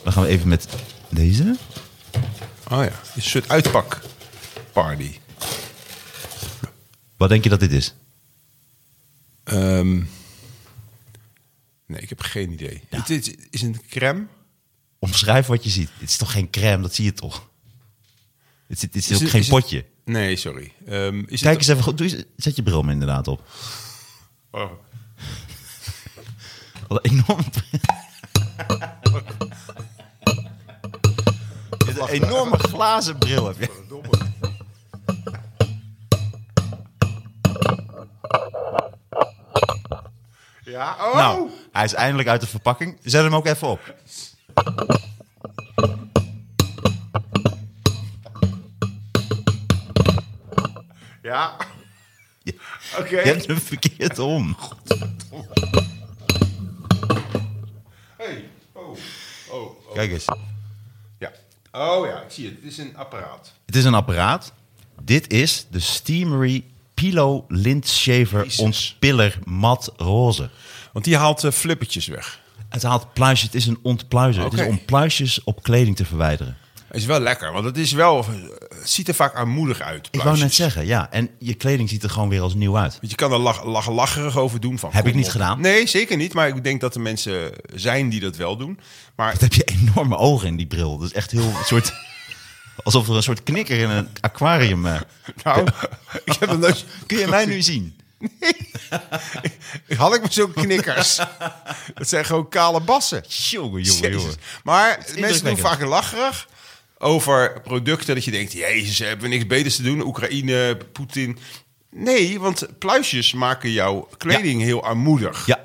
Speaker 3: Dan gaan we even met deze.
Speaker 2: Oh ja, een soort uitpak party.
Speaker 3: Wat denk je dat dit is?
Speaker 2: Ehm, nee, ik heb geen idee. Het is, is een crème.
Speaker 3: Omschrijf wat je ziet. Dit is toch geen crème, dat zie je toch? Dit, dit, dit is,
Speaker 2: Is
Speaker 3: ook
Speaker 2: het-
Speaker 3: geen
Speaker 2: is het-
Speaker 3: potje.
Speaker 2: Nee, sorry. Ehm, is
Speaker 3: Kijk eens
Speaker 2: het,
Speaker 3: even goed. Doe eens- Zet je bril me inderdaad op.
Speaker 2: Oh,
Speaker 3: Wat een enorm. Een enorme glazen bril heb je.
Speaker 2: Ja, oh.
Speaker 3: Nou, hij is eindelijk uit de verpakking. Zet hem ook even op.
Speaker 2: Ja.
Speaker 3: Je,
Speaker 2: Oké.
Speaker 3: je hebt hem verkeerd om.
Speaker 2: Hey. Oh. Oh. oh.
Speaker 3: Kijk eens.
Speaker 2: Ja. Oh ja, ik zie het. Het is een apparaat.
Speaker 3: Het is een apparaat. Dit is de Steamery Pilo Lint Shaver
Speaker 2: Jezus.
Speaker 3: Ontpiller Mat Roze.
Speaker 2: Want die haalt eh, flippertjes weg.
Speaker 3: Het haalt pluisjes. Het is een ontpluizer. Het
Speaker 2: Oké.
Speaker 3: is om pluisjes op kleding te verwijderen.
Speaker 2: Is wel lekker, want het is wel. Het ziet er vaak armoedig uit.
Speaker 3: Ik wou
Speaker 2: pluisjes.
Speaker 3: net zeggen, ja. En je kleding ziet er gewoon weer als nieuw uit.
Speaker 2: Want je kan er lach, lach, lacherig over doen. Van,
Speaker 3: Heb
Speaker 2: kom
Speaker 3: ik niet
Speaker 2: op.
Speaker 3: gedaan.
Speaker 2: Nee, zeker niet. Maar ik denk dat er mensen zijn die dat wel doen. Maar
Speaker 3: Wat heb je enorme ogen in die bril. Dat is echt heel een soort... Alsof er een soort knikker in een aquarium... eh,
Speaker 2: Nou, ik heb een nooit...
Speaker 3: kun je mij nu zien?
Speaker 2: Had ik maar zo'n knikkers. Dat zijn gewoon kale bassen.
Speaker 3: Jongen, jongen,
Speaker 2: Jezus.
Speaker 3: jongen.
Speaker 2: Maar mensen doen
Speaker 3: indrukwekkend.
Speaker 2: vaak lacherig over producten dat je denkt... Jezus, hebben we niks beters te doen? Oekraïne, Poetin... Nee, want pluisjes maken jouw kleding heel armoedig.
Speaker 3: Ja.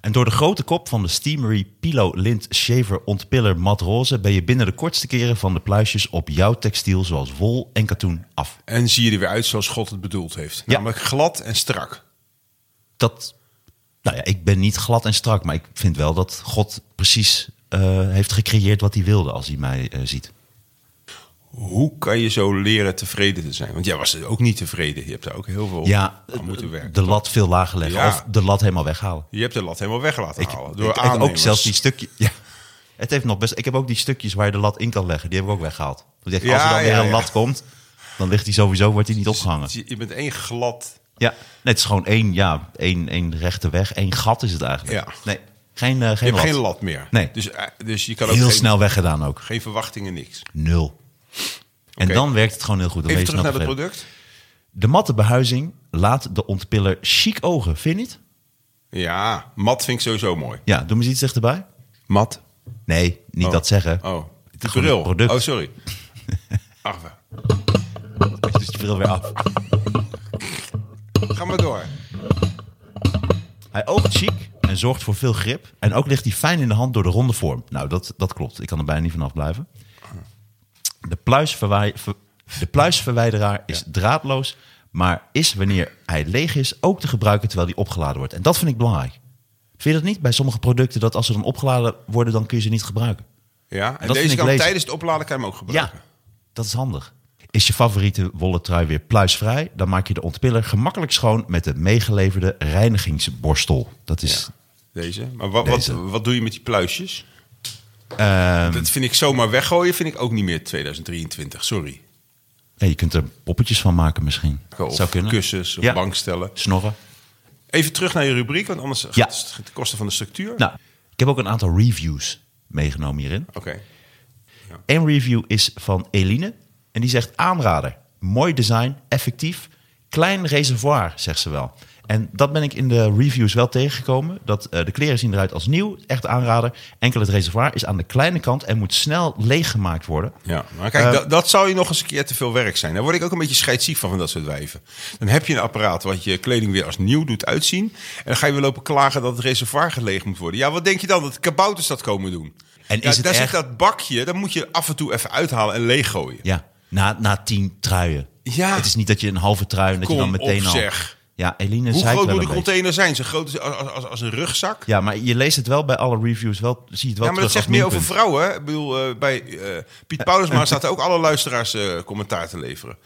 Speaker 3: En door de grote kop van de steamery Pilo Lint Shaver Ontpiller Mat Roze... ben je binnen de kortste keren van de pluisjes op jouw textiel... zoals wol en katoen af.
Speaker 2: En zie je er weer uit zoals God het bedoeld heeft.
Speaker 3: Ja.
Speaker 2: Namelijk glad en strak.
Speaker 3: Dat, nou ja, ik ben niet glad en strak... maar ik vind wel dat God precies eh, heeft gecreëerd wat hij wilde als hij mij eh, ziet.
Speaker 2: Hoe kan je zo leren tevreden te zijn? Want jij was ook niet tevreden. Je hebt daar ook heel veel
Speaker 3: Ja,
Speaker 2: aan moeten werken.
Speaker 3: de lat veel lager leggen
Speaker 2: Ja.
Speaker 3: of de lat helemaal weghalen.
Speaker 2: Je hebt de lat helemaal weg laten
Speaker 3: Ik,
Speaker 2: halen.
Speaker 3: ik,
Speaker 2: Nou, Door
Speaker 3: ik ook
Speaker 2: aannemers.
Speaker 3: zelfs die stukjes... Ja, het heeft nog best, ik heb ook die stukjes waar je de lat in kan leggen. Die heb ik ook weggehaald. Want ik denk, als
Speaker 2: Ja,
Speaker 3: er dan weer
Speaker 2: ja,
Speaker 3: een
Speaker 2: ja.
Speaker 3: lat komt... dan ligt die sowieso, wordt die niet opgehangen.
Speaker 2: Je je bent één glad.
Speaker 3: Ja, nee, het is gewoon één, ja, één, één rechte weg. één gat is het eigenlijk.
Speaker 2: Ja.
Speaker 3: Nee, geen, eh
Speaker 2: Je
Speaker 3: geen
Speaker 2: hebt
Speaker 3: lat.
Speaker 2: geen lat meer.
Speaker 3: Nee.
Speaker 2: Dus, eh, dus je kan ook
Speaker 3: Heel
Speaker 2: geen,
Speaker 3: snel weggedaan ook.
Speaker 2: geen verwachtingen, niks.
Speaker 3: Nul. En
Speaker 2: Oké.
Speaker 3: dan werkt het gewoon heel goed. Dan
Speaker 2: Even
Speaker 3: ben
Speaker 2: terug
Speaker 3: je
Speaker 2: naar
Speaker 3: snel
Speaker 2: het
Speaker 3: tevreden.
Speaker 2: product.
Speaker 3: De matte behuizing laat de ontpiller chic ogen, vind je niet?
Speaker 2: Ja, mat vind ik sowieso mooi.
Speaker 3: Ja, doe me eens iets dichterbij.
Speaker 2: Mat?
Speaker 3: Nee, niet
Speaker 2: Oh.
Speaker 3: dat zeggen.
Speaker 2: Oh, het is
Speaker 3: Gewoon het
Speaker 2: bril.
Speaker 3: product.
Speaker 2: Oh, sorry. Ach, we-
Speaker 3: Het is de bril Dus weer af.
Speaker 2: ga maar door.
Speaker 3: Hij oogt chic en zorgt voor veel grip. En ook ligt hij fijn in de hand door de ronde vorm. Nou, dat, dat klopt. Ik kan er bijna niet vanaf blijven. De, pluisverwij- ver- de pluisverwijderaar is draadloos, maar is wanneer hij leeg is ook te gebruiken terwijl hij opgeladen wordt. En dat vind ik belangrijk. Vind je dat niet bij sommige producten dat als ze dan opgeladen worden, dan kun je ze niet gebruiken?
Speaker 2: Ja, en
Speaker 3: dat vind
Speaker 2: deze
Speaker 3: ik
Speaker 2: kan
Speaker 3: lezen.
Speaker 2: tijdens het opladen kan je hem ook
Speaker 3: Ja,
Speaker 2: gebruiken.
Speaker 3: dat is handig. Is je favoriete wollen trui weer pluisvrij, dan maak je de ontpiller gemakkelijk schoon met de meegeleverde reinigingsborstel. Dat is
Speaker 2: Deze. Maar wat, wat,
Speaker 3: Deze. Ehm,
Speaker 2: wat doe je met die pluisjes? dat vind ik zomaar weggooien, vind ik ook niet meer 2023. Sorry.
Speaker 3: Ja, je kunt er poppetjes van maken misschien.
Speaker 2: Of kussens of bankstellen.
Speaker 3: Snorren.
Speaker 2: Even terug naar je rubriek, want anders
Speaker 3: Ja.
Speaker 2: gaat het ten koste van de structuur.
Speaker 3: Nou, ik heb ook een aantal reviews meegenomen hierin.
Speaker 2: Oké.
Speaker 3: Een review is van Eline. En die zegt aanrader. Mooi design, effectief. Klein reservoir, zegt ze wel. En dat ben ik in de reviews wel tegengekomen. Dat eh, de kleren zien eruit als nieuw. Echt aanrader. Enkel het reservoir is aan de kleine kant en moet snel leeggemaakt worden.
Speaker 2: Ja, maar kijk, dat, dat zou je nog eens een keer te veel werk zijn. Daar word ik ook een beetje scheidsziek van, van dat soort wijven. Dan heb je een apparaat wat je kleding weer als nieuw doet uitzien. En dan ga je weer lopen klagen dat het reservoir geleeg moet worden. Ja, wat denk je dan? Dat kabouters dat komen doen.
Speaker 3: En
Speaker 2: Ja,
Speaker 3: is het
Speaker 2: daar zit
Speaker 3: echt-
Speaker 2: dat bakje, dat moet je af en toe even uithalen en leeggooien.
Speaker 3: Ja, na, na tien truien.
Speaker 2: Ja.
Speaker 3: Het is niet dat je een halve trui en dat je
Speaker 2: Kom
Speaker 3: dan meteen
Speaker 2: op,
Speaker 3: al...
Speaker 2: zeg.
Speaker 3: Ja, Eline
Speaker 2: Hoe
Speaker 3: zei
Speaker 2: groot moet
Speaker 3: het wel
Speaker 2: die
Speaker 3: een beetje.
Speaker 2: container zijn? Zo groot als, als, als, als een rugzak?
Speaker 3: Ja, maar je leest het wel bij alle reviews. Wel, zie je het wel
Speaker 2: Ja, maar dat
Speaker 3: terug als
Speaker 2: zegt meer over
Speaker 3: minpunt.
Speaker 2: vrouwen. hè? Ik bedoel, eh, bij eh, Piet Paulusma zaten ook alle luisteraars eh, commentaar te leveren.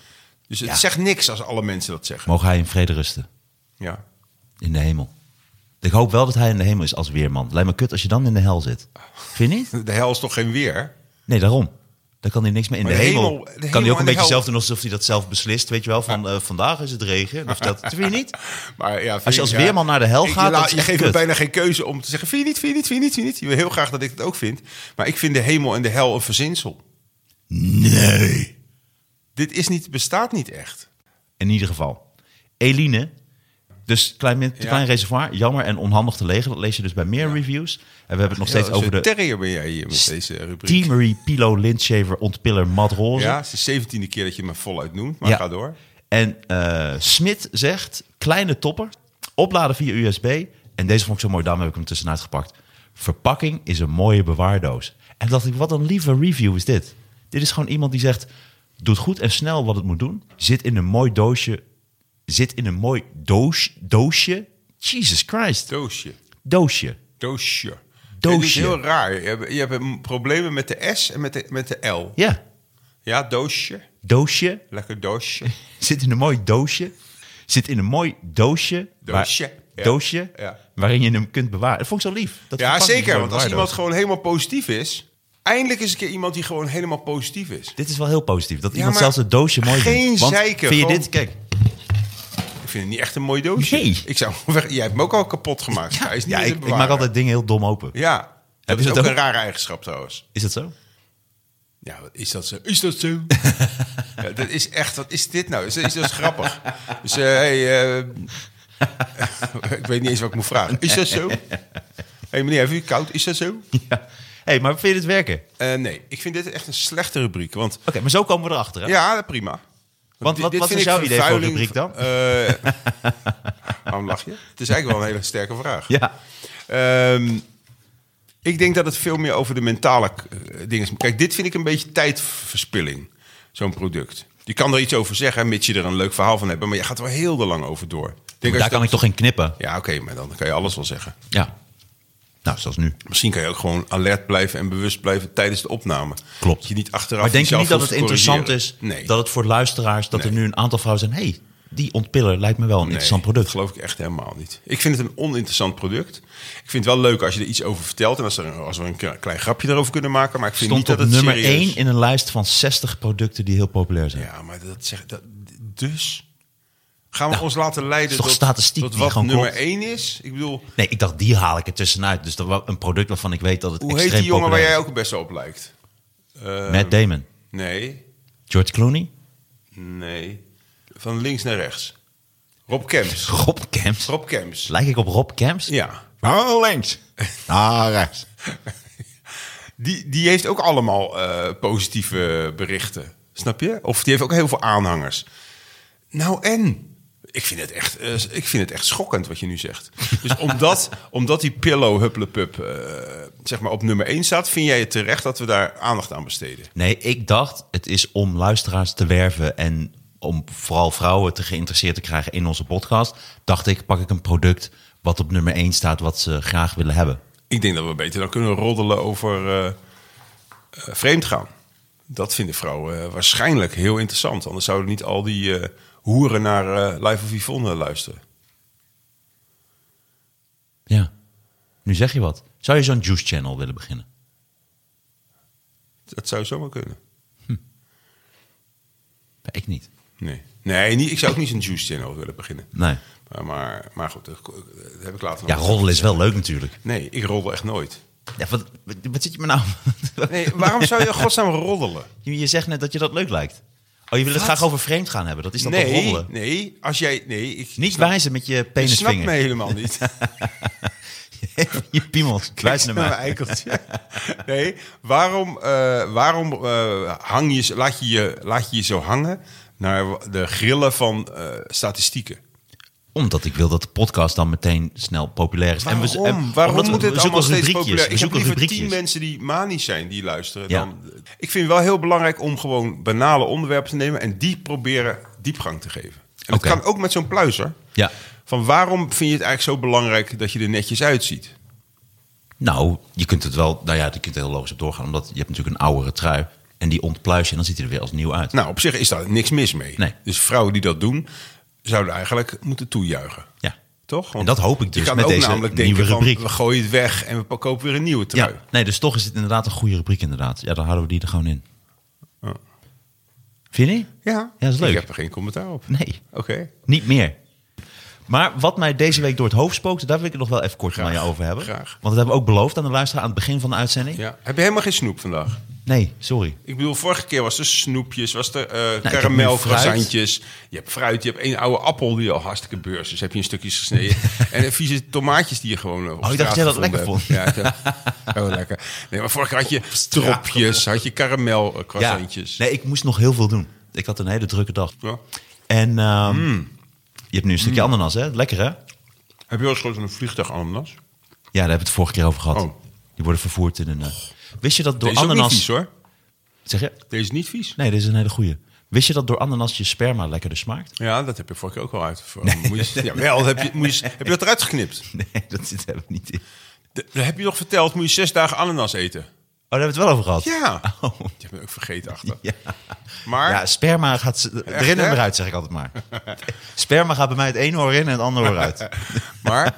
Speaker 2: Dus het
Speaker 3: Ja.
Speaker 2: zegt niks als alle mensen dat zeggen.
Speaker 3: Mogen hij in vrede rusten.
Speaker 2: Ja.
Speaker 3: In de hemel. Ik hoop wel dat hij in de hemel is als weerman. Lijkt me kut als je dan in de hel zit. Vind je niet?
Speaker 2: De hel is toch geen weer?
Speaker 3: Nee, daarom. Daar kan hij niks mee. In de,
Speaker 2: Maar de
Speaker 3: hemel,
Speaker 2: hemel- de hemel
Speaker 3: kan
Speaker 2: en
Speaker 3: hij ook een
Speaker 2: de
Speaker 3: beetje
Speaker 2: hel-
Speaker 3: zelf doen alsof hij dat zelf beslist. Weet je wel, van eh, vandaag is het regen. Of dat, vind je niet?
Speaker 2: Maar ja, vind
Speaker 3: Als je
Speaker 2: ik-
Speaker 3: als
Speaker 2: ja,
Speaker 3: weerman naar de hel
Speaker 2: ik- je
Speaker 3: gaat,
Speaker 2: laat-
Speaker 3: dat is
Speaker 2: je
Speaker 3: echt
Speaker 2: geeft me
Speaker 3: kut.
Speaker 2: bijna geen keuze om te zeggen: vind je niet, vind je niet, vind je niet, vind je niet. Je wil heel graag dat ik het ook vind. Maar ik vind de hemel en de hel een verzinsel.
Speaker 3: Nee.
Speaker 2: Dit is niet, bestaat niet echt.
Speaker 3: In ieder geval. Eline. Dus klein, min-
Speaker 2: Ja.
Speaker 3: klein reservoir. Jammer en onhandig te legen. Dat lees je dus bij meer reviews. En we hebben het nog steeds
Speaker 2: Als een
Speaker 3: over de
Speaker 2: terrier ben jij hier met deze rubriek.
Speaker 3: Teamery Pilo Lintshaver Ontpiller Mad Roze.
Speaker 2: Ja, het is de 17e keer dat je me voluit noemt, maar
Speaker 3: Ja.
Speaker 2: ga door.
Speaker 3: En eh, Smit zegt, kleine topper, opladen via USB. En deze vond ik zo mooi, daarom heb ik hem tussenuit gepakt. Verpakking is een mooie bewaardoos. En dacht ik, wat een lieve review is dit. Dit is gewoon iemand die zegt, doet goed en snel wat het moet doen. Zit in een mooi doosje. Zit in een mooi doos, doosje. Jesus Christ.
Speaker 2: Doosje.
Speaker 3: Doosje.
Speaker 2: Doosje.
Speaker 3: Doosje.
Speaker 2: Dit is heel raar. Je hebt, je hebt mm, problemen met de S en met de, met de L.
Speaker 3: Ja,
Speaker 2: Ja, doosje.
Speaker 3: doosje.
Speaker 2: Lekker doosje.
Speaker 3: Zit in een mooi doosje. Zit in een mooi doosje. waar-
Speaker 2: Doosje, ja.
Speaker 3: doosje.
Speaker 2: Ja.
Speaker 3: Waarin je hem kunt bewaren. Dat vond ik zo lief. Dat
Speaker 2: Ja,
Speaker 3: verpakking is
Speaker 2: zeker.
Speaker 3: een
Speaker 2: Want als
Speaker 3: bewaardoos.
Speaker 2: iemand gewoon helemaal positief is... Eindelijk is een keer iemand die gewoon helemaal positief is.
Speaker 3: Dit is wel heel positief. Dat iemand
Speaker 2: maar
Speaker 3: zelfs het doosje mooi
Speaker 2: geen
Speaker 3: vindt. Want
Speaker 2: zeiken,
Speaker 3: Vind je
Speaker 2: gewoon-
Speaker 3: dit? Kijk.
Speaker 2: Ik vind het niet echt een mooi doosje.
Speaker 3: Nee.
Speaker 2: Ik zou hem weg- Jij hebt hem ook al kapot gemaakt. Hij is niet
Speaker 3: ja,
Speaker 2: meer
Speaker 3: ik,
Speaker 2: te
Speaker 3: ik
Speaker 2: bewaren.
Speaker 3: maak altijd dingen heel dom open.
Speaker 2: Ja, dat
Speaker 3: je
Speaker 2: is
Speaker 3: dat
Speaker 2: ook
Speaker 3: ook?
Speaker 2: een rare eigenschap trouwens.
Speaker 3: Is dat zo?
Speaker 2: Ja, wat is dat zo? Is dat zo? ja, dat is echt, wat is dit nou? Is, is dat grappig? Dus, eh, hey, eh, ik weet niet eens wat ik moet vragen. Is dat zo? Hé hey, meneer, heeft u het koud? Is dat zo?
Speaker 3: Ja. hey, maar vind je dit werken? Oké,
Speaker 2: Eh, nee, ik vind dit echt een slechte rubriek. Want
Speaker 3: maar zo komen we erachter. Hè?
Speaker 2: ja, prima.
Speaker 3: Want
Speaker 2: Dit-
Speaker 3: wat-
Speaker 2: dit
Speaker 3: wat
Speaker 2: vind
Speaker 3: is
Speaker 2: ik
Speaker 3: jouw idee voor
Speaker 2: vervuiling.
Speaker 3: rubriek dan?
Speaker 2: Eh, waarom lach je? Het is eigenlijk wel een hele sterke vraag.
Speaker 3: Ja.
Speaker 2: Ehm, ik denk dat het veel meer over de mentale eh, dingen is. Kijk, dit vind ik een beetje tijdverspilling, zo'n product. Je kan er iets over zeggen, mits je er een leuk verhaal van hebt. Maar je gaat er wel heel lang over door. Ik Denk als
Speaker 3: Daar
Speaker 2: je
Speaker 3: kan
Speaker 2: dat-
Speaker 3: ik toch in knippen?
Speaker 2: Ja, oké, maar dan kan je alles wel zeggen.
Speaker 3: Ja. Nou, zoals nu.
Speaker 2: Misschien kan je ook gewoon alert blijven en bewust blijven tijdens de opname.
Speaker 3: Klopt.
Speaker 2: Dat je niet achteraf
Speaker 3: Maar denk je
Speaker 2: jezelf
Speaker 3: niet dat het
Speaker 2: hoeft te
Speaker 3: interessant is
Speaker 2: corrigeren. Nee.
Speaker 3: dat het voor luisteraars, dat er
Speaker 2: Nee.
Speaker 3: nu een aantal vrouwen zijn, hey, die ontpiller lijkt me wel een
Speaker 2: Nee,
Speaker 3: interessant product.
Speaker 2: Dat geloof ik echt helemaal niet. Ik vind het een oninteressant product. Ik vind het wel leuk als je er iets over vertelt en als, er, als we een k- klein grapje erover kunnen maken. Maar ik vind
Speaker 3: Stond
Speaker 2: niet
Speaker 3: op
Speaker 2: dat het
Speaker 3: nummer
Speaker 2: serieus...
Speaker 3: 1 in een lijst van 60 producten die heel populair zijn.
Speaker 2: Ja, maar dat zegt dat, dus gaan we ons laten leiden
Speaker 3: Nou, is toch
Speaker 2: tot,
Speaker 3: statistiek
Speaker 2: tot
Speaker 3: die
Speaker 2: wat
Speaker 3: gewoon
Speaker 2: nummer
Speaker 3: klopt?
Speaker 2: 1 is? Ik bedoel,
Speaker 3: Nee, ik dacht, die haal ik er tussenuit. Dus dat was een product waarvan ik weet dat het
Speaker 2: hoe heet
Speaker 3: extreem
Speaker 2: die jongen waar
Speaker 3: populair
Speaker 2: jij
Speaker 3: is.
Speaker 2: ook best wel op lijkt? Eh,
Speaker 3: Matt Damon.
Speaker 2: Nee,
Speaker 3: George Clooney.
Speaker 2: nee. Van links naar rechts. Rob Kemps.
Speaker 3: Rob Camps.
Speaker 2: Rob Kemps.
Speaker 3: Lijk ik op Rob Camps?
Speaker 2: Ja.
Speaker 3: Ah, links. Ah, rechts.
Speaker 2: Die, die heeft ook allemaal eh, positieve berichten. Snap je? Of die heeft ook heel veel aanhangers. Nou en? Ik vind het echt, eh, ik vind het echt schokkend wat je nu zegt. Dus omdat, omdat die pillow hupplepup eh, zeg maar op nummer 1 staat... vind jij het terecht dat we daar aandacht aan besteden?
Speaker 3: Nee, ik dacht, het is om luisteraars te werven en om vooral vrouwen te geïnteresseerd te krijgen in onze podcast. Dacht ik, pak ik een product wat op nummer 1 staat, wat ze graag willen hebben.
Speaker 2: Ik denk dat we beter dan kunnen roddelen over eh, eh, vreemd gaan. Dat vinden vrouwen eh, waarschijnlijk heel interessant. Anders zouden niet al die eh, hoeren naar eh, Life of Yvonne luisteren.
Speaker 3: Ja. Nu zeg je wat. Zou je zo'n Juice Channel willen beginnen?
Speaker 2: Dat zou zomaar kunnen.
Speaker 3: Ik niet.
Speaker 2: Nee. Nee, niet, ik zou ook niet zo'n juice channel willen beginnen.
Speaker 3: Nee.
Speaker 2: Maar, maar, maar goed, dat, dat heb ik later
Speaker 3: Ja,
Speaker 2: nog.
Speaker 3: roddelen is wel leuk natuurlijk.
Speaker 2: Nee, ik roddel echt nooit.
Speaker 3: Ja, wat, wat- wat zit je me nou...
Speaker 2: Nee, waarom zou je in godsnaam roddelen?
Speaker 3: Je je zegt net dat je dat leuk lijkt. Oh, je wil het graag over vreemd gaan hebben. Dat is dan toch
Speaker 2: Nee,
Speaker 3: roddelen?
Speaker 2: nee, als jij... Nee, ik
Speaker 3: Niet
Speaker 2: snap,
Speaker 3: wijzen met je
Speaker 2: je snapt
Speaker 3: penisvinger.
Speaker 2: me helemaal niet.
Speaker 3: je piemels. Luister naar
Speaker 2: Mijn
Speaker 3: mij.
Speaker 2: eikeltje. Nee, waarom, eh, waarom eh, hang je, laat, je je, laat je je zo hangen naar de grillen van eh, statistieken?
Speaker 3: Omdat ik wil dat de podcast dan meteen snel populair is.
Speaker 2: Waarom?
Speaker 3: En we, en-
Speaker 2: Waarom
Speaker 3: omdat
Speaker 2: moet het
Speaker 3: zoeken
Speaker 2: allemaal steeds
Speaker 3: rubriekjes.
Speaker 2: populair?
Speaker 3: We
Speaker 2: Ik heb
Speaker 3: zoeken
Speaker 2: liever tien
Speaker 3: rubriekjes.
Speaker 2: mensen die manisch zijn die luisteren.
Speaker 3: Ja.
Speaker 2: Dan, ik vind het wel heel belangrijk om gewoon banale onderwerpen te nemen... en die proberen diepgang te geven. En
Speaker 3: Oké.
Speaker 2: dat kan ook met zo'n pluizer.
Speaker 3: Ja.
Speaker 2: Van waarom vind je het eigenlijk zo belangrijk dat je er netjes uitziet?
Speaker 3: Nou, je kunt het wel... Nou ja, je kunt er heel logisch op doorgaan. Omdat je hebt natuurlijk een oudere trui. En die ontpluis je en dan ziet hij er weer als nieuw uit.
Speaker 2: Nou, op zich is daar niks mis mee.
Speaker 3: Nee.
Speaker 2: Dus vrouwen die dat doen, zouden eigenlijk moeten toejuichen.
Speaker 3: Ja.
Speaker 2: Toch? Want
Speaker 3: dat hoop ik
Speaker 2: je
Speaker 3: dus
Speaker 2: kan
Speaker 3: met
Speaker 2: ook
Speaker 3: deze
Speaker 2: namelijk
Speaker 3: nieuwe
Speaker 2: denken
Speaker 3: rubriek.
Speaker 2: Van, we gooien het weg en we kopen weer een nieuwe trui.
Speaker 3: Ja, nee, dus toch is het inderdaad een goede rubriek inderdaad. Ja, dan houden we die er gewoon in.
Speaker 2: Ja.
Speaker 3: Vind je? niet?
Speaker 2: Ja,
Speaker 3: dat is leuk.
Speaker 2: Ik heb er geen commentaar op.
Speaker 3: Nee,
Speaker 2: Oké.
Speaker 3: niet meer. Maar wat mij deze week door het hoofd spookte, daar wil ik het nog wel even kort
Speaker 2: Graag,
Speaker 3: aan je over hebben.
Speaker 2: graag.
Speaker 3: Want dat hebben we ook beloofd aan de luisteraar aan het begin van de uitzending.
Speaker 2: Ja. Heb je helemaal geen snoep vandaag?
Speaker 3: Nee, sorry.
Speaker 2: Ik bedoel, vorige keer was er snoepjes, was er eh
Speaker 3: Nou, heb nu fruit.
Speaker 2: karamelcroissantjes. Je hebt fruit, je hebt één oude appel die al hartstikke beurs is. Heb je in stukjes gesneden. en eh, vieze tomaatjes die je gewoon eh, op
Speaker 3: Oh, ik dacht
Speaker 2: straat
Speaker 3: dat jij dat
Speaker 2: gevonden
Speaker 3: lekker
Speaker 2: hebt. Ja, dat- oh, lekker. Nee, maar vorige keer had je tropjes, had je eh, karamelcroissantjes.
Speaker 3: Nee, ik moest nog heel veel doen. Ik had een hele drukke dag.
Speaker 2: Ja. Hmm.
Speaker 3: En ehm, je hebt nu een stukje ananas, hè? Lekker, hè?
Speaker 2: Heb je wel eens gehoord van een vliegtuig ananas?
Speaker 3: Ja, daar hebben we het vorige keer over gehad.
Speaker 2: Oh.
Speaker 3: Die worden vervoerd in een... eh, Wist je dat door
Speaker 2: Deze is ook niet
Speaker 3: ananas...
Speaker 2: vies hoor.
Speaker 3: Zeg je?
Speaker 2: Deze is niet vies.
Speaker 3: Nee, dit is een hele goeie. Wist je dat door ananas je sperma lekkerder smaakt?
Speaker 2: Ja, dat heb je vorige keer ook al uit. Moet je, jawel, heb je, moet je, heb je dat eruit geknipt?
Speaker 3: Nee, dat zit er niet in.
Speaker 2: De- heb je nog verteld, moet je zes dagen ananas eten?
Speaker 3: Oh, daar hebben we het wel over gehad?
Speaker 2: Ja.
Speaker 3: Oh.
Speaker 2: Je hebt me ook vergeten achter.
Speaker 3: Ja.
Speaker 2: Maar
Speaker 3: ja, sperma gaat z- erin en
Speaker 2: hè?
Speaker 3: eruit, zeg ik altijd maar. sperma gaat bij mij het ene oor in en het andere oor uit.
Speaker 2: Maar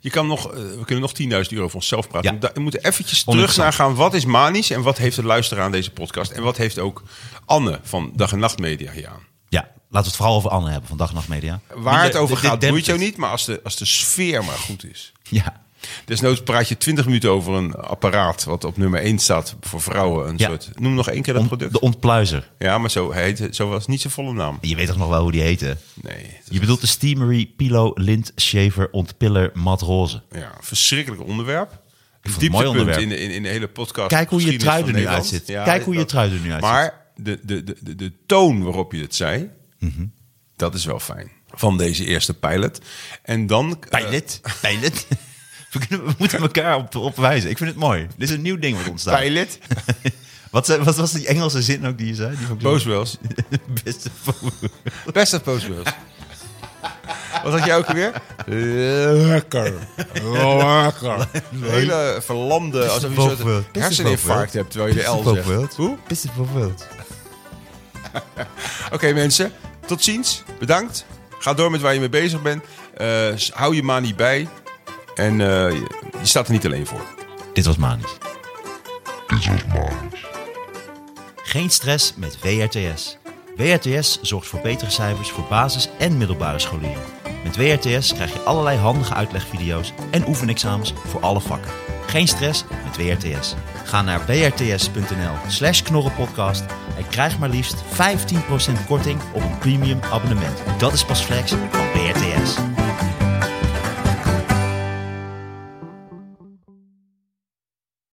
Speaker 2: je kan nog, eh, we kunnen nog 10.000 euro voor onszelf praten.
Speaker 3: Ja.
Speaker 2: Da- We moeten eventjes terug naar gaan. Wat is manisch en wat heeft de luisteraar aan deze podcast? En wat heeft ook Anne van Dag en Nacht Media hier aan?
Speaker 3: Ja, laten we het vooral over Anne hebben van Dag en Nacht Media.
Speaker 2: Waar het over gaat, boeit
Speaker 3: je
Speaker 2: jou niet. Maar als de, als de sfeer maar goed is.
Speaker 3: Ja,
Speaker 2: Desnoods praat je 20 minuten over een apparaat wat op nummer 1 staat voor vrouwen. Een
Speaker 3: Ja.
Speaker 2: soort, noem nog één keer dat
Speaker 3: Ont-
Speaker 2: product.
Speaker 3: de ontpluizer.
Speaker 2: Ja, maar zo, heet, het- zo was het niet zijn volle naam.
Speaker 3: Je weet toch nog wel hoe die heette?
Speaker 2: Nee. dat-
Speaker 3: Je bedoelt de Steamery, Pilo, Lint, Shaver, Ontpiller, Matroze.
Speaker 2: Ja, verschrikkelijk onderwerp.
Speaker 3: het een
Speaker 2: Dieptepunt
Speaker 3: mooi onderwerp.
Speaker 2: In, de, in, in de hele podcast.
Speaker 3: Kijk hoe je
Speaker 2: geschiedenis
Speaker 3: trui
Speaker 2: van
Speaker 3: er nu
Speaker 2: Nederland.
Speaker 3: uitziet. Kijk hoe je trui er nu uitziet.
Speaker 2: Maar de, de, de, de, de toon waarop je het zei,
Speaker 3: Mhm.
Speaker 2: dat is wel fijn. Van deze eerste pilot. En dan... eh,
Speaker 3: Pilot? Pilot? We, kunnen, we moeten elkaar op, op wijzen. Ik vind het mooi. Dit is een nieuw ding wat ontstaat.
Speaker 2: pilot?
Speaker 3: Wat, zei- wat was die Engelse zin ook die je zei? Die vond ik zo-
Speaker 2: Booswells.
Speaker 3: Beste voor-
Speaker 2: Best of Postbus. Wat had jij ook weer? Lekker. Lekker. Een hele verlamde, alsof je een
Speaker 3: Postbus.
Speaker 2: soort herseninfarct hebt terwijl je de L
Speaker 3: Beste
Speaker 2: zegt.
Speaker 3: voorbeeld.
Speaker 2: Hoe?
Speaker 3: Beste voorbeeld.
Speaker 2: Oké mensen, tot ziens. Bedankt. Ga door met waar je mee bezig bent. Eh, s- hou je maar niet bij. En eh, je je staat er niet alleen voor.
Speaker 3: Dit was Manis. Dit was Manis. Geen stress met WRTS. WRTS zorgt voor betere cijfers voor basis- en middelbare scholieren. Met WRTS krijg je allerlei handige uitlegvideo's en oefenexamens voor alle vakken. Geen stress met WRTS. Ga naar wrts.nl slash knorrenpodcast en krijg maar liefst 15% korting op een premium abonnement. Dat is pas flex van WRTS.